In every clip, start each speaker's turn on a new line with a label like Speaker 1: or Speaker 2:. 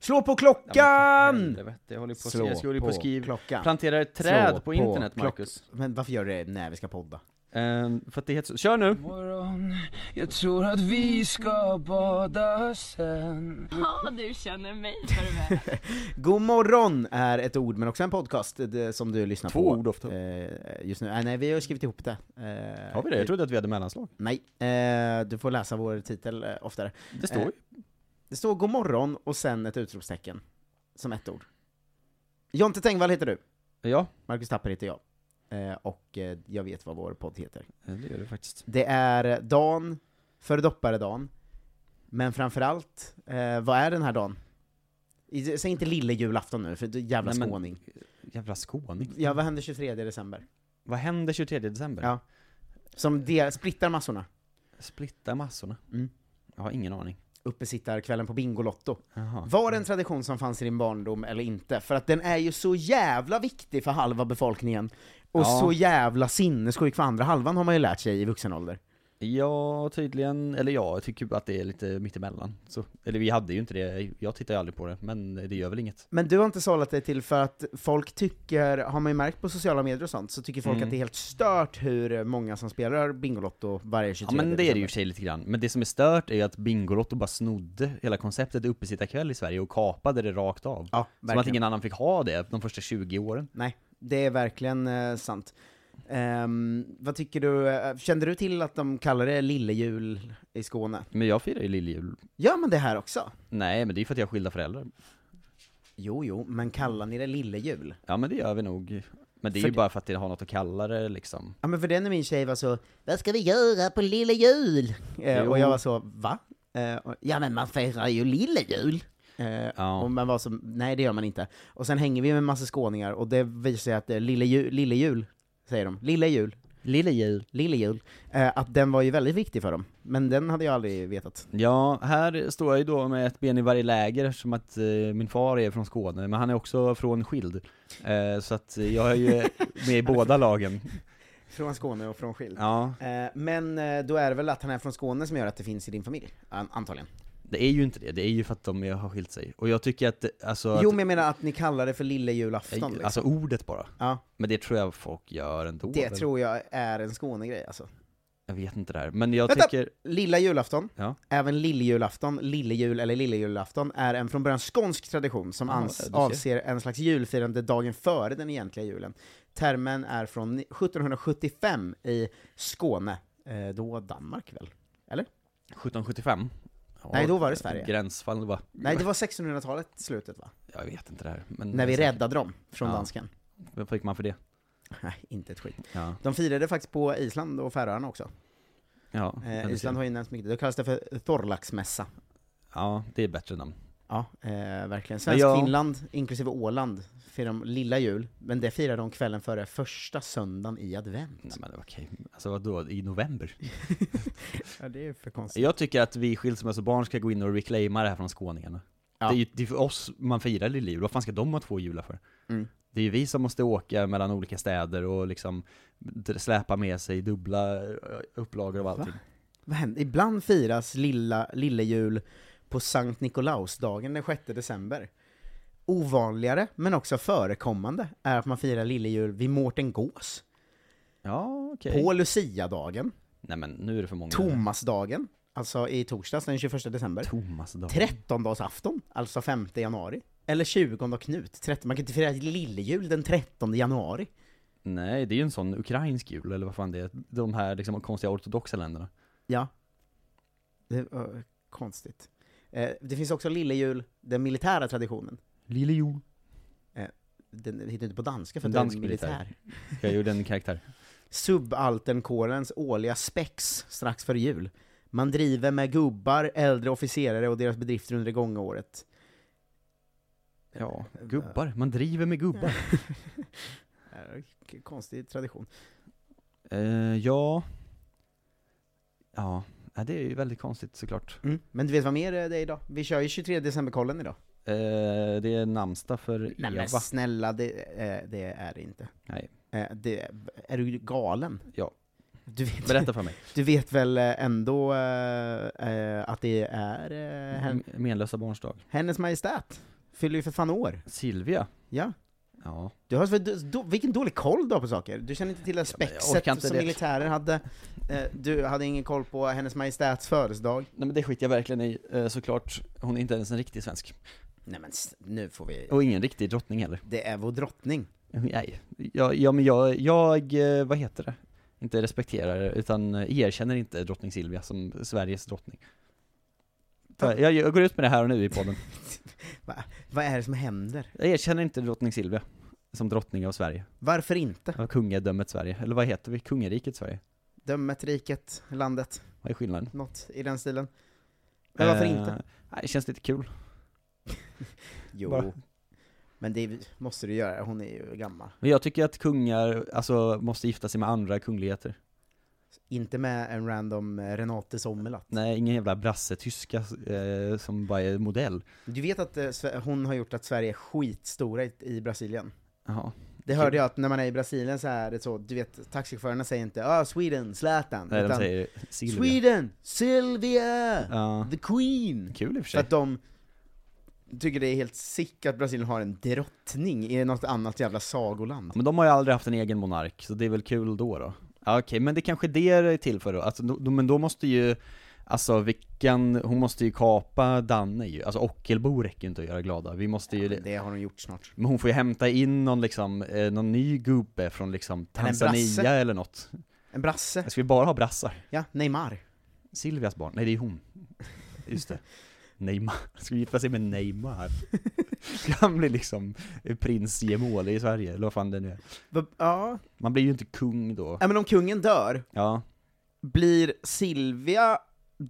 Speaker 1: Slå på klockan!
Speaker 2: Helvete, jag håller på att
Speaker 1: Slå
Speaker 2: skriva, jag håller på
Speaker 1: på
Speaker 2: att skriva,
Speaker 1: klockan.
Speaker 2: plantera ett träd
Speaker 1: Slå
Speaker 2: på internet
Speaker 1: klock-
Speaker 2: Marcus.
Speaker 1: Men varför gör du det när vi ska podda?
Speaker 2: Ehm, för att det heter så. Kör nu!
Speaker 3: Jag tror att vi ska bada sen
Speaker 4: Ja, du känner mig för väl.
Speaker 1: God morgon är ett ord, men också en podcast eh, det, som du lyssnar
Speaker 2: Två
Speaker 1: på.
Speaker 2: ord ofta.
Speaker 1: Eh, just nu. Eh, nej, vi har skrivit ihop det. Eh,
Speaker 2: Har vi det? Jag trodde att vi hade mellanslag.
Speaker 1: Nej, eh, du får läsa vår titel eh, oftare.
Speaker 2: Det står ju.
Speaker 1: Det står god morgon och sen ett utropstecken. Som ett ord. Jonte Tengvall heter du.
Speaker 2: Ja,
Speaker 1: Marcus Tapper heter jag. Eh, och eh, jag vet vad vår podd heter.
Speaker 2: eh, det gör det faktiskt.
Speaker 1: Det är dan, föredopparedan, men framförallt, eh, vad är den här dagen? I- Säg inte lille julafton nu, för du jävla
Speaker 2: Nej, men-
Speaker 1: skåning.
Speaker 2: Jävla skåning.
Speaker 1: Ja, vad händer 23 december?
Speaker 2: Vad händer 23 december?
Speaker 1: Ja. Som de, splittar massorna.
Speaker 2: Splitta massorna.
Speaker 1: Mm.
Speaker 2: Jag har ingen aning.
Speaker 1: Uppesittarkvällen på Bingolotto.
Speaker 2: Jaha.
Speaker 1: Var det en tradition som fanns i din barndom eller inte? För att den är ju så jävla viktig för halva befolkningen, och
Speaker 2: Ja.
Speaker 1: så jävla sinnessjuk för andra halvan har man ju lärt sig i vuxen ålder.
Speaker 2: Ja, tydligen. Eller ja, jag tycker att det är lite mittemellan. Så, eller vi hade ju inte det, jag tittar ju aldrig på det, men det gör väl inget.
Speaker 1: Men du har inte sålat dig till för att folk tycker, har man ju märkt på sociala medier och sånt, så tycker folk
Speaker 2: Mm.
Speaker 1: att det är helt stört hur många som spelar Bingolotto varje 23
Speaker 2: Ja men det är det
Speaker 1: december.
Speaker 2: ju i och för sig lite grann, men det som är stört är ju att Bingolotto bara snodde hela konceptet uppesittarkväll i Sverige och kapade det rakt av.
Speaker 1: Ja,
Speaker 2: Som att
Speaker 1: verkligen.
Speaker 2: ingen annan fick ha det de första 20 åren.
Speaker 1: Nej, det är verkligen eh, sant. Ehm, vad tycker du, eh, kände du till att de kallar det lillejul i Skåne?
Speaker 2: Men jag firar ju lilljul.
Speaker 1: Gör man det här också?
Speaker 2: Nej, men det är ju för att jag har skilda föräldrar.
Speaker 1: Jo, jo, men kallar ni det lillejul?
Speaker 2: Ja men det gör vi nog. Men det är
Speaker 1: För
Speaker 2: ju
Speaker 1: det-
Speaker 2: bara för att jag har något att kalla det liksom.
Speaker 1: Ja men för den när min tjej var så, vad ska vi göra på lillejul? Eh,
Speaker 2: Jo.
Speaker 1: och jag var så, va? Eh, och, ja men man firar ju lillejul. Eh,
Speaker 2: Ja.
Speaker 1: Och man var så, nej det gör man inte. Och sen hänger vi med en massa skåningar och det visar sig att eh, det är lille jul, lille jul säger de. Lille jul,
Speaker 2: Lilljul.
Speaker 1: lille jul. Eh, att den var ju väldigt viktig för dem. Men den hade jag aldrig vetat.
Speaker 2: Ja, här står jag ju då med ett ben i varje läger som att eh, min far är från Skåne, men han är också från Skild. Eh, så att eh, jag är ju med i båda lagen.
Speaker 1: Från Skåne och från Skild.
Speaker 2: Ja,
Speaker 1: Eh, men eh, då är det väl att han är från Skåne som gör att det finns i din familj? An- antagligen.
Speaker 2: det är ju inte det, det är ju för att de har skilt sig. Och jag tycker att, eh, alltså,
Speaker 1: Jo
Speaker 2: att,
Speaker 1: men jag menar att ni kallar det för lillejulafton liksom.
Speaker 2: alltså ordet bara.
Speaker 1: Ja,
Speaker 2: Men det tror jag folk gör ändå.
Speaker 1: det
Speaker 2: väl?
Speaker 1: tror jag är en Skånegrej alltså.
Speaker 2: Jag vet inte det här, men jag
Speaker 1: Vänta!
Speaker 2: tycker...
Speaker 1: Lilla julafton,
Speaker 2: Ja.
Speaker 1: även lilljulafton, lillejul eller lillejulafton, är en från början skånsk tradition som
Speaker 2: Ja,
Speaker 1: ans-
Speaker 2: du Ah, ser.
Speaker 1: avser en slags julfirande dagen före den egentliga julen. Termen är från 1775 i Skåne, eh, då Danmark väl?
Speaker 2: 1775? Ja,
Speaker 1: Nej, då var det Sverige.
Speaker 2: Gränsfall va?
Speaker 1: Nej, det var 1600-talet slutet va?
Speaker 2: Jag vet inte Mm, det här. Men
Speaker 1: När vi räddade dem från
Speaker 2: Ja.
Speaker 1: dansken.
Speaker 2: Vad fick man för det?
Speaker 1: Nej, inte ett skit.
Speaker 2: Ja.
Speaker 1: De firade faktiskt på Island och Färöarna också.
Speaker 2: ja men
Speaker 1: Eh,
Speaker 2: du
Speaker 1: Island
Speaker 2: ser.
Speaker 1: har ju nämnts mycket, det kallas det för Thorlaksmässa.
Speaker 2: Ja, det är bättre namn.
Speaker 1: Ja, eh, verkligen. Svensk
Speaker 2: jag-
Speaker 1: Finland, inklusive Åland, firar de lilla jul, men det firar de kvällen före första söndagen i advent.
Speaker 2: Nej men okej, alltså vadå, i november?
Speaker 1: Ja, det är för konstigt.
Speaker 2: Jag tycker att vi skilsmässobarn ska gå in och reclaima det här från skåningarna.
Speaker 1: Ja.
Speaker 2: Det är ju det är för oss man firar lilla jul, vad fan ska de ha två jular för?
Speaker 1: Mm.
Speaker 2: Det är ju vi som måste åka mellan olika städer och liksom d- släpa med sig dubbla ö, upplagor av allting.
Speaker 1: Vad händer? Ibland firas lilla, lilla jul på Sankt Nikolausdagen den 6 december. Ovanligare, men också förekommande, är att man firar lille jul vid Mårten Gås,
Speaker 2: Ja, okej.
Speaker 1: på Luciadagen,
Speaker 2: Nej men nu är det för många.
Speaker 1: Tomasdagen, alltså i torsdags den 21 december,
Speaker 2: Thomas dag.
Speaker 1: 13 alltså 5 januari, Eller 20 och Knut, 30. Man kan inte fira lillejul den 13 januari.
Speaker 2: Nej, det är ju en sån ukrainsk jul, eller vad fan det är. De här liksom konstiga ortodoxa länderna.
Speaker 1: Ja. Det var konstigt. Eh, det finns också lillejul, den militära traditionen.
Speaker 2: Lille jul.
Speaker 1: Den hittar inte på danska för att
Speaker 2: Dansk
Speaker 1: den är militär.
Speaker 2: militär. Jag gjorde en karaktär.
Speaker 1: Subalternkårens årliga spex strax före jul. Man driver med gubbar, äldre officerare och deras bedrifter under det gångna året.
Speaker 2: Ja, gubbar. Man driver med gubbar.
Speaker 1: Eh, k- Konstig tradition.
Speaker 2: Eh, ja. Ja, Ja, det är ju väldigt konstigt såklart.
Speaker 1: Mm. Men du vet vad mer det är idag? Vi kör ju 23 december-kollen idag.
Speaker 2: Eh, det är namnsdag för
Speaker 1: Nej
Speaker 2: Eva.
Speaker 1: men snälla, det, eh, det är det inte.
Speaker 2: Nej.
Speaker 1: Eh, det, är du galen?
Speaker 2: Ja.
Speaker 1: Du vet,
Speaker 2: Berätta för mig.
Speaker 1: du vet väl eh, ändå eh, eh, att det är eh, hen,
Speaker 2: M- Menlösa barns dag.
Speaker 1: hennes majestät? Fyller ju för fan år.
Speaker 2: Silvia.
Speaker 1: Ja.
Speaker 2: Ja.
Speaker 1: Du har, så- du, du, vilken dålig koll du har på saker! Du känner inte till det här
Speaker 2: men jag
Speaker 1: spexet
Speaker 2: orkar inte
Speaker 1: som
Speaker 2: det.
Speaker 1: militärer hade. Eh, Du hade ingen koll på hennes majestäts födelsedag.
Speaker 2: Nej men det skiter jag verkligen i, eh, såklart. Hon är inte ens en riktig svensk.
Speaker 1: Nej men s- nu får vi...
Speaker 2: Och ingen riktig drottning heller.
Speaker 1: Det är vår drottning.
Speaker 2: Nej. Ja, ja men jag, jag, eh, vad heter det? Inte respekterar, utan eh, erkänner inte drottning Silvia som Sveriges drottning. Jag, jag- jag går ut med det här och nu i podden.
Speaker 1: Vad är det som händer?
Speaker 2: Jag erkänner inte drottning Silvia som drottning av Sverige.
Speaker 1: Varför inte?
Speaker 2: Av kungadömet Sverige. Eller vad heter vi? Kungariket Sverige.
Speaker 1: Dömet, riket, landet,
Speaker 2: Vad är skillnaden?
Speaker 1: något i den stilen. Men varför
Speaker 2: Eh,
Speaker 1: inte?
Speaker 2: nej, det känns lite kul.
Speaker 1: Jo.
Speaker 2: bara-
Speaker 1: Men det måste du göra, hon är ju gammal.
Speaker 2: Men jag tycker att kungar, alltså, måste gifta sig med andra kungligheter.
Speaker 1: Inte med en random eh, Renate Sommerlath.
Speaker 2: Nej, ingen jävla brasse-tyska eh, som bara är modell.
Speaker 1: Du vet att eh, Sve- hon har gjort att Sverige är skitstora i, i Brasilien?
Speaker 2: Jaha.
Speaker 1: Det hörde jag att när man är i Brasilien så är det så, du vet, taxichaufförerna säger inte ah, Sweden, Zlatan,
Speaker 2: Nej, de
Speaker 1: utan
Speaker 2: säger Silvia.
Speaker 1: Sweden, Silvia,
Speaker 2: Ja,
Speaker 1: the Queen!
Speaker 2: kul i och för
Speaker 1: För
Speaker 2: sig.
Speaker 1: att de tycker det är helt sick att Brasilien har en drottning i något annat jävla sagoland.
Speaker 2: Ja, Men de har ju aldrig haft en egen monark, så det är väl kul då då. Ja, okej, men det kanske det är till för då. Alltså, då, då- men då måste ju, alltså vilken, hon måste ju kapa Danne ju. Alltså Ockelbo räcker ju inte att göra glada. Vi måste ju,
Speaker 1: Det har de gjort snart.
Speaker 2: men hon får ju hämta in någon liksom, eh, någon ny gubbe från liksom
Speaker 1: Eller en brasse.
Speaker 2: Tanzania eller något.
Speaker 1: En brasse,
Speaker 2: Jag ska ju bara ha brassar.
Speaker 1: ja, Neymar.
Speaker 2: Silvias barn, nej det är hon. Just det. Neymar, ska vi gifta sig med Neymar? Ska han bli liksom prins Gemole i Sverige, eller vad fan det nu är.
Speaker 1: Va- Ja,
Speaker 2: Man blir ju inte kung då.
Speaker 1: Ja, men om kungen dör,
Speaker 2: Ja,
Speaker 1: blir Silvia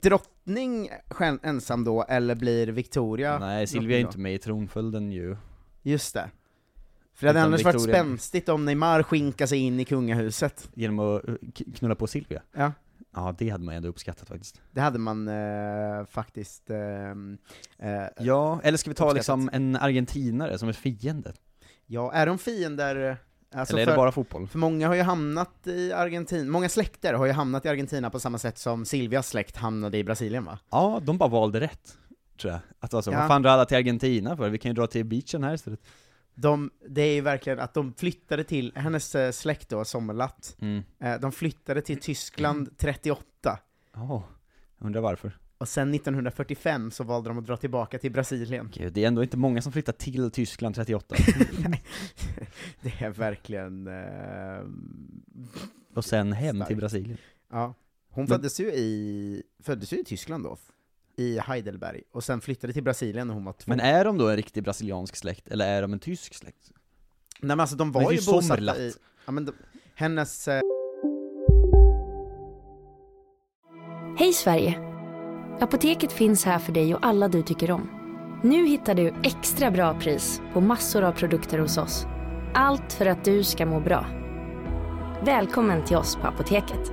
Speaker 1: drottning själv, ensam då, eller blir Victoria
Speaker 2: nej Silvia
Speaker 1: drottning
Speaker 2: är
Speaker 1: då?
Speaker 2: inte med i tronföljden ju.
Speaker 1: Just det. För det hade
Speaker 2: Utan
Speaker 1: annars varit
Speaker 2: Victoria-
Speaker 1: spänstigt om Neymar skinkade sig in i kungahuset.
Speaker 2: Genom att eh, k- knulla på Silvia.
Speaker 1: Ja.
Speaker 2: Ja, det hade man ju ändå uppskattat faktiskt.
Speaker 1: Det hade man eh, faktiskt... ehm, eh, ja.
Speaker 2: Ja, eller ska vi ta
Speaker 1: Uppskattat.
Speaker 2: liksom en argentinare som är fiende?
Speaker 1: är de fiender? eh, Alltså
Speaker 2: eller är
Speaker 1: för,
Speaker 2: det bara fotboll?
Speaker 1: för många har ju hamnat i Argentina, många släkter har ju hamnat i Argentina på samma sätt som Silvias släkt hamnade i Brasilien va?
Speaker 2: Ja, de bara valde rätt. Tror jag. Att alltså,
Speaker 1: Ja.
Speaker 2: vad fan drar alla till Argentina för? Vi kan ju dra till beachen här istället.
Speaker 1: De, det är ju verkligen att de flyttade till, hennes eh, släkt då, Sommerlath,
Speaker 2: Mm.
Speaker 1: eh, de flyttade till Tyskland 38,
Speaker 2: Ja, undrar varför.
Speaker 1: och sen 1945 så valde de att dra tillbaka till Brasilien.
Speaker 2: Gud, det är ändå inte många som flyttar till Tyskland 38.
Speaker 1: Det är verkligen... Eh,
Speaker 2: Och sen hem till
Speaker 1: Starkt.
Speaker 2: Brasilien.
Speaker 1: ja. Hon
Speaker 2: Men-
Speaker 1: föddes ju, i, föddes ju i Tyskland då, i Heidelberg, och sen flyttade till Brasilien när hon var två.
Speaker 2: Men är de då en riktig brasiliansk släkt, eller är de en tysk släkt?
Speaker 1: Nej men alltså de
Speaker 2: Men
Speaker 1: var
Speaker 2: det
Speaker 1: ju
Speaker 2: är ju
Speaker 1: bosatta
Speaker 2: Sommerlath.
Speaker 1: i... Ja, men de, hennes... Eh,
Speaker 5: Hej Sverige! Apoteket finns här för dig och alla du tycker om. Nu hittar du extra bra pris på massor av produkter hos oss. Allt för att du ska må bra. Välkommen till oss på Apoteket.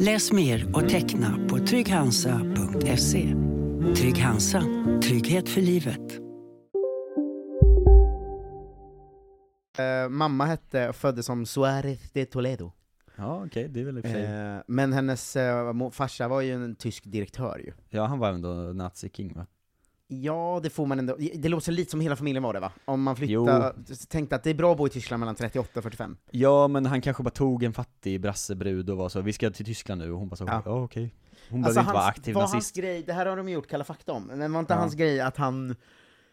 Speaker 6: Läs mer och teckna på trygghansa.se. Trygg-Hansa. Trygghet för livet.
Speaker 1: Eh, mamma hette, föddes som Suárez de Toledo.
Speaker 2: Ja, okej, det är väl i och för sig.
Speaker 1: Eh, men hennes eh, mo- farsa var ju en tysk direktör ju.
Speaker 2: Ja, han var ändå naziking va?
Speaker 1: Ja, det får man ändå. Det låter lite som hela familjen var det va? Om man flyttar, tänkte att det är bra att bo i Tyskland mellan 38 och 45.
Speaker 2: Ja, men han kanske bara tog en fattig brassebrud och var så, vi ska till Tyskland nu, och hon bara så, ja, okej. Hon behövde inte vara
Speaker 1: Alltså, hans-
Speaker 2: aktiv
Speaker 1: var
Speaker 2: nazist.
Speaker 1: hans grej, det här har de gjort Kalla fakta om, men var inte
Speaker 2: Ja.
Speaker 1: hans grej att han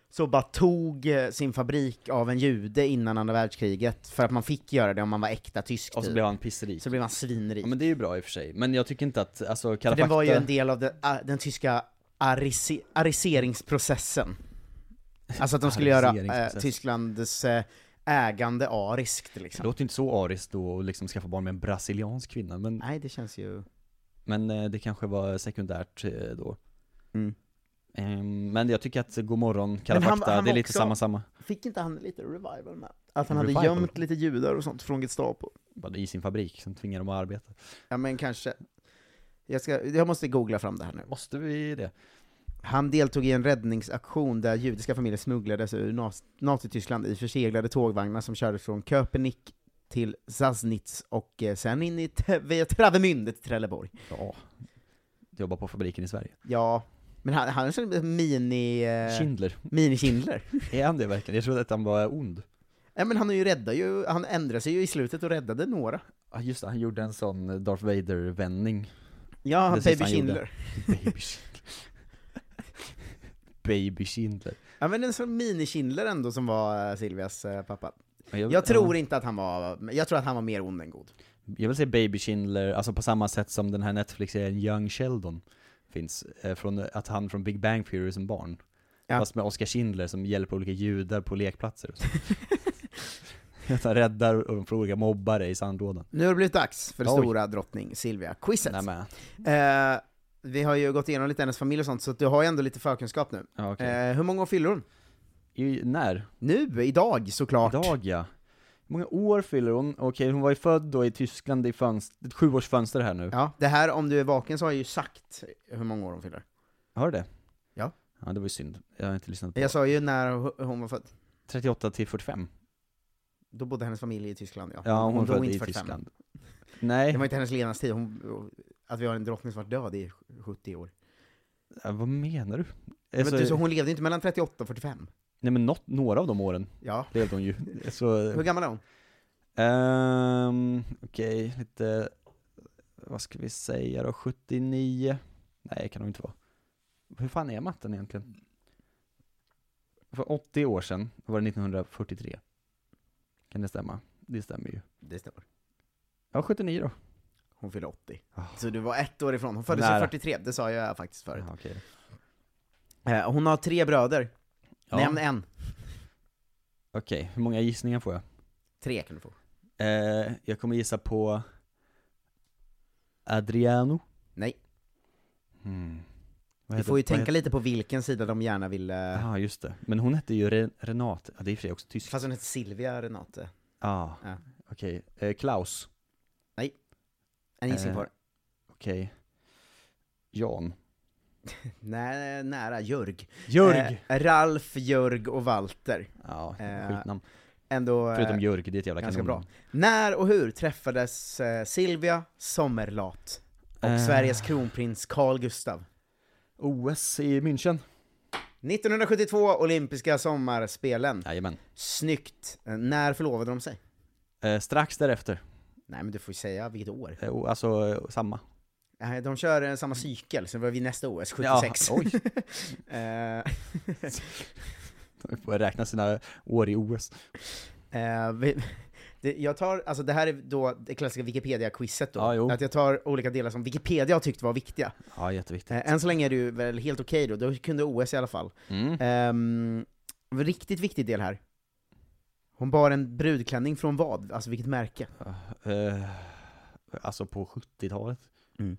Speaker 1: så bara tog eh, sin fabrik av en jude innan andra världskriget, för att man fick göra det om man var äkta tysk
Speaker 2: Och så
Speaker 1: typ.
Speaker 2: blev han pissrik.
Speaker 1: Så blev han svinrik.
Speaker 2: Ja, men det är ju bra i och för sig. Men jag tycker inte att, alltså Kalla
Speaker 1: För det
Speaker 2: fakta...
Speaker 1: var ju en del av den, a- den tyska arisi, ariseringsprocessen. Alltså att de skulle göra eh,
Speaker 2: Ariseringsprocessen.
Speaker 1: Tysklands eh, ägande ariskt
Speaker 2: Det
Speaker 1: liksom.
Speaker 2: låter inte så ariskt då att liksom skaffa barn med en brasiliansk kvinna, men,
Speaker 1: Nej, det känns ju...
Speaker 2: men eh, det kanske var sekundärt eh, då.
Speaker 1: Mm.
Speaker 2: Ehm, Men jag tycker att God morgon, Kalla
Speaker 1: Men han-
Speaker 2: fakta,
Speaker 1: han
Speaker 2: det är
Speaker 1: var
Speaker 2: lite
Speaker 1: också-
Speaker 2: samma samma.
Speaker 1: Fick inte han lite revival med? Att han hade
Speaker 2: Revival?
Speaker 1: gömt lite judar och sånt från Gestapo.
Speaker 2: Bara i sin fabrik, som tvingar dem att arbeta.
Speaker 1: Ja men kanske. Jag, ska, jag måste googla fram det här nu.
Speaker 2: Måste vi det?
Speaker 1: Han deltog i en räddningsaktion där judiska familjer smugglades ur Naz- Nazityskland i förseglade tågvagnar som kördes från Köpenick till Sassnitz och eh, sen in i Te- via Travemünde till Trelleborg.
Speaker 2: Ja. Jobbar på fabriken i Sverige.
Speaker 1: Ja, men han, han är som en mini... eh,
Speaker 2: Schindler.
Speaker 1: Mini-Schindler.
Speaker 2: Är han det verkligen? Jag trodde att han var ond.
Speaker 1: Nej men han är ju räddar ju, han ändrade sig ju i slutet och räddade några.
Speaker 2: Ja just det, han gjorde en sån eh, Darth Vader-vändning.
Speaker 1: Ja, han
Speaker 2: Det sista
Speaker 1: Baby
Speaker 2: gjorde.
Speaker 1: Schindler.
Speaker 2: Baby Schindler. Baby Schindler.
Speaker 1: Ja men en sån mini-Schindler ändå som var eh, Silvias eh, pappa.
Speaker 2: Men
Speaker 1: Jag tror inte att han var, jag tror att han var mer ond än god.
Speaker 2: Jag vill säga Baby Schindler, alltså på samma sätt som den här Netflix-serien Young Sheldon finns. eh, Från att han från Big Bang Theory som barn.
Speaker 1: Ja.
Speaker 2: Fast med Oskar Schindler som hjälper olika judar på lekplatser och så. Att han räddar och de får olika mobbare i sandlådan.
Speaker 1: Nu har det blivit dags för det
Speaker 2: Oj.
Speaker 1: stora drottning Silvia-quizet.
Speaker 2: Nej men,
Speaker 1: Eh, vi har ju gått igenom lite hennes familj och sånt, så att du har ju ändå lite förkunskap nu.
Speaker 2: ja, okej.
Speaker 1: Eh, hur många år fyller hon?
Speaker 2: I- När?
Speaker 1: Nu, idag såklart.
Speaker 2: Idag ja. Hur många år fyller hon? Okej, hon var ju född då i Tyskland, det är fönst- ett sjuårsfönster här nu.
Speaker 1: Ja, det här, om du är vaken så har jag ju sagt hur många år hon fyller.
Speaker 2: Har du det?
Speaker 1: Ja.
Speaker 2: Ja, det var ju synd. Jag har inte lyssnat på
Speaker 1: Jag sa ju när ho- hon var född.
Speaker 2: 38 till 45.
Speaker 1: Då bodde hennes familj i Tyskland ja.
Speaker 2: Ja, hon, var
Speaker 1: dog
Speaker 2: född i
Speaker 1: 45.
Speaker 2: Tyskland.
Speaker 1: Det
Speaker 2: Nej,
Speaker 1: var inte hennes levnadstid, hon, att vi har en drottning som varit död i 70 år.
Speaker 2: ja, vad menar du?
Speaker 1: Men
Speaker 2: Alltså,
Speaker 1: du, så hon levde ju inte mellan 38 och 45?
Speaker 2: Nej men något, några av de åren
Speaker 1: Ja.
Speaker 2: levde hon ju. Så,
Speaker 1: Hur gammal är hon?
Speaker 2: ehm, okej, lite, vad ska vi säga då, 79? Nej, kan hon inte vara. Hur fan är matten egentligen? För 80 år sedan var det 1943. Kan det stämma? Det stämmer ju.
Speaker 1: Det stämmer.
Speaker 2: Ja, 79 då.
Speaker 1: Hon fyller 80.
Speaker 2: Ah.
Speaker 1: Så du var ett år ifrån. Hon föddes ju
Speaker 2: Nära.
Speaker 1: 43, det sa jag faktiskt förut.
Speaker 2: Ja, okej.
Speaker 1: Eh, Hon har tre bröder.
Speaker 2: Ja,
Speaker 1: Nämn en.
Speaker 2: Okej, hur många gissningar får jag?
Speaker 1: Tre kan du få.
Speaker 2: Eh, jag kommer gissa på Adriano.
Speaker 1: Nej.
Speaker 2: Hmm. Vad
Speaker 1: Du
Speaker 2: heter-
Speaker 1: får ju
Speaker 2: vad
Speaker 1: tänka
Speaker 2: heter-
Speaker 1: lite på vilken sida de gärna vill... eh,
Speaker 2: Ja, just det. Men hon hette ju Re- Renate. Ja, det är i och för sig också tysk.
Speaker 1: Fast hon heter Silvia eh. Renate.
Speaker 2: Ah,
Speaker 1: Ja.
Speaker 2: okej. Eh, Klaus.
Speaker 1: En gissning
Speaker 2: Eh.
Speaker 1: på det.
Speaker 2: Okej. Jan.
Speaker 1: Nä, nära, Jörg.
Speaker 2: Jörg!
Speaker 1: Eh, Ralf, Jörg och Walter.
Speaker 2: Ja,
Speaker 1: eh,
Speaker 2: skitnamn.
Speaker 1: Ändå... eh,
Speaker 2: Förutom Jörg, det är ett jävla
Speaker 1: ganska
Speaker 2: kanon.
Speaker 1: bra. När och hur träffades eh, Silvia Sommerlath och
Speaker 2: Eh.
Speaker 1: Sveriges kronprins Carl Gustav?
Speaker 2: OS i München.
Speaker 1: 1972, olympiska sommarspelen.
Speaker 2: Jajamän.
Speaker 1: Snyggt. Eh, När förlovade de sig?
Speaker 2: Eh, strax därefter.
Speaker 1: Nej men du får ju säga vilket år.
Speaker 2: Eh, o- alltså, eh, samma.
Speaker 1: Eh, De kör eh, samma cykel, sen var vi nästa OS, 76.
Speaker 2: Ja, oj.
Speaker 1: Eh,
Speaker 2: De får räkna sina år i OS.
Speaker 1: Eh, vi, det, jag tar, alltså det här är då det klassiska Wikipedia-quizet då.
Speaker 2: Ja, jo.
Speaker 1: att jag tar olika delar som Wikipedia har tyckt var viktiga.
Speaker 2: Ja, jätteviktigt.
Speaker 1: Eh, än så länge är det ju väl helt okej då, då kunde OS i alla fall.
Speaker 2: Mm.
Speaker 1: Ehm, en riktigt viktig del här. Hon bar en brudklänning från vad? Alltså vilket märke?
Speaker 2: Eh, alltså på 70-talet.
Speaker 1: Mm.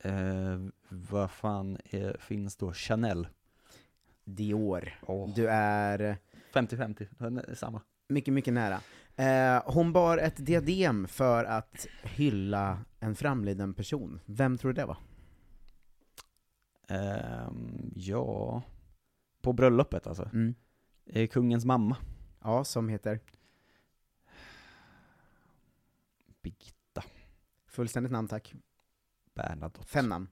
Speaker 2: Eh, vad fan är, finns då? Chanel?
Speaker 1: Dior.
Speaker 2: Åh,
Speaker 1: Du är
Speaker 2: 50-50, Eh, samma.
Speaker 1: mycket, mycket nära. Eh, hon bar ett diadem för att hylla en framliden person. Vem tror du det var?
Speaker 2: Ehm, ja, på bröllopet alltså.
Speaker 1: Mm.
Speaker 2: Eh, kungens mamma.
Speaker 1: Ja, som heter?
Speaker 2: Birgitta.
Speaker 1: Fullständigt namn tack.
Speaker 2: Bernadotte.
Speaker 1: Fem namn.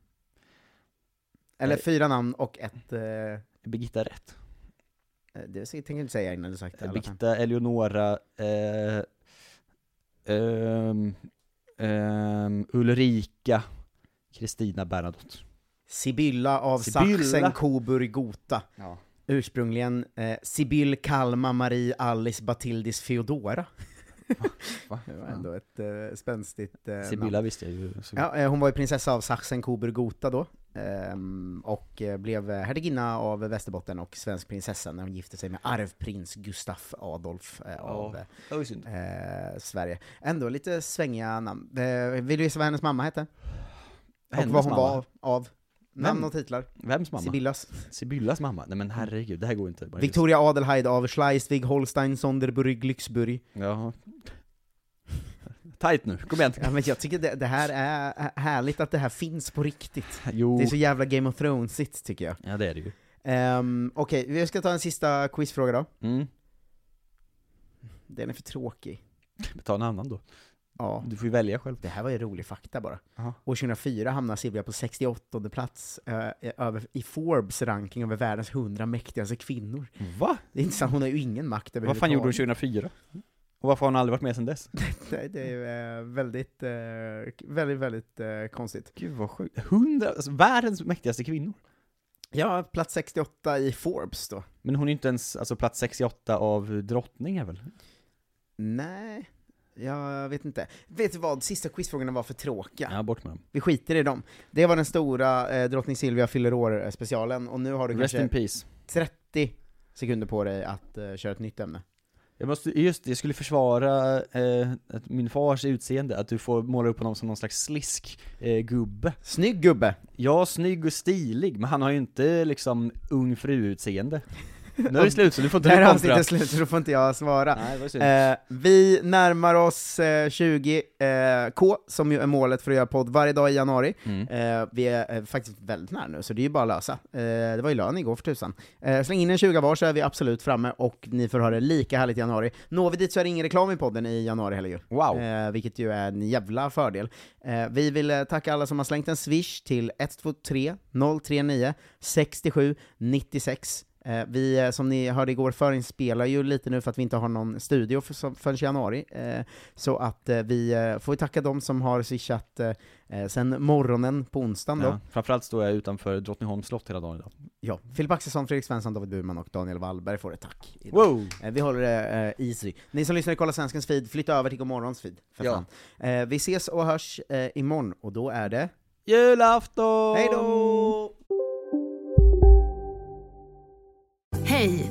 Speaker 1: Eller
Speaker 2: Nej.
Speaker 1: fyra namn och ett... Eh,
Speaker 2: Birgitta rätt.
Speaker 1: eh, det tänker jag inte säga innan du sagt det. i alla fall.
Speaker 2: Birgitta, Eleonora, eh, ehm, ehm, Ulrika, Kristina Bernadotte.
Speaker 1: Sibylla av
Speaker 2: Sibylla.
Speaker 1: Sachsen Coburg Gotha.
Speaker 2: Ja.
Speaker 1: Ursprungligen eh, Sibyll Kalma Marie Alice Batildis Feodora. Det var ändå ett eh, spänstigt eh,
Speaker 2: Sibylla
Speaker 1: namn.
Speaker 2: visste jag ju. Så-
Speaker 1: Ja, eh, hon var ju prinsessa av Sachsen Coburg Gotha då. ehm, och eh, blev hertiginna av Västerbotten och svensk prinsessa när hon gifte sig med arvprins Gustaf Adolf eh, av eh,
Speaker 2: det var ju synd.
Speaker 1: eh, Sverige. Ändå lite svängiga namn. Eh, vill du gissa vad hennes mamma hette?
Speaker 2: Hennes
Speaker 1: och vad hon
Speaker 2: mamma?
Speaker 1: var av- av? Namn
Speaker 2: Vem?
Speaker 1: och titlar.
Speaker 2: Vems mamma?
Speaker 1: Sibyllas.
Speaker 2: Sibyllas mamma? Nej men herregud, det här går inte. Marius.
Speaker 1: Victoria Adelheid av Schleswig, Holstein, Sonderburg, Glücksburg.
Speaker 2: Jaha. Tajt nu, kom igen.
Speaker 1: Ja, men jag tycker det, det här är härligt att det här finns på riktigt.
Speaker 2: Jo.
Speaker 1: Det är så jävla Game of Thrones-igt tycker jag.
Speaker 2: Ja det är det ju.
Speaker 1: Um, Okej, vi ska ta en sista quizfråga då.
Speaker 2: Mm.
Speaker 1: Den är för tråkig.
Speaker 2: Ta en annan då.
Speaker 1: Ja.
Speaker 2: Du får ju välja själv.
Speaker 1: Det här var ju rolig fakta bara.
Speaker 2: Jaha.
Speaker 1: År 2004 hamnade Silvia på 68 plats eh, över, i Forbes ranking över världens 100 mäktigaste kvinnor.
Speaker 2: Va?
Speaker 1: Det är intressant, hon har ju ingen makt
Speaker 2: Vad fan gjorde hon
Speaker 1: överhuvudtaget.
Speaker 2: 2004? Och varför har hon aldrig varit med sedan dess?
Speaker 1: Det, det är ju eh, väldigt, eh, väldigt, väldigt eh, konstigt.
Speaker 2: Gud vad sjukt. 100, alltså världens mäktigaste kvinnor.
Speaker 1: Ja, plats 68 i Forbes då.
Speaker 2: Men hon är ju inte ens, alltså plats 68 av drottningar väl?
Speaker 1: Nej, jag vet inte. Vet du vad, sista quizfrågorna var för tråkiga.
Speaker 2: Ja, bort med dem.
Speaker 1: Vi skiter i dem. Det var den stora eh, Drottning Silvia fyller år-specialen, och nu har du
Speaker 2: Rest in
Speaker 1: kanske
Speaker 2: peace.
Speaker 1: 30 sekunder på dig att eh, köra ett nytt ämne.
Speaker 2: Jag måste, just det, jag skulle försvara eh, att min fars utseende, att du får måla upp honom som någon slags slisk eh, gubbe.
Speaker 1: Snygg gubbe!
Speaker 2: Ja, snygg och stilig, men han har ju inte liksom ung fru-utseende. Nu är det slut, så du får inte
Speaker 1: Det här
Speaker 2: du
Speaker 1: är
Speaker 2: kontra.
Speaker 1: avsnittet slut, så då får inte jag svara.
Speaker 2: Nej, det var synd.
Speaker 1: Eh, vi närmar oss eh, 20K, som ju är målet för att göra podd varje dag i januari.
Speaker 2: Mm.
Speaker 1: Eh, vi är eh, faktiskt väldigt nära nu, så det är ju bara att lösa. Eh, det var ju lön igår för tusan. Eh, släng in en 20 var så är vi absolut framme, och ni får ha det lika härligt i januari. Når vi dit så är det ingen reklam i podden i januari heller ju.
Speaker 2: Wow.
Speaker 1: Eh, vilket ju är en jävla fördel. Eh, vi vill eh, tacka alla som har slängt en swish till 123 039 67 96. Eh, vi, eh, som ni hörde igår, förinspelar ju lite nu för att vi inte har någon studio för, som, förrän i januari. Eh, så att eh, vi eh, får tacka de som har swishat eh, eh, sen morgonen på onsdagen då.
Speaker 2: Ja, framförallt står jag utanför Drottningholms slott hela dagen idag.
Speaker 1: Ja, Filip Axelsson, Fredrik Svensson, David Burman och Daniel Wallberg får ett tack. idag.
Speaker 2: Wow!
Speaker 1: Eh, Vi håller det eh, easy. Ni som lyssnar i Kolla Svenskens feed, flytta över till Gomorrons feed. För
Speaker 2: Ja.
Speaker 1: fan. Eh, vi ses och hörs eh, imorgon, och då är det...
Speaker 2: Julafton!
Speaker 1: Hej då!
Speaker 7: Hej,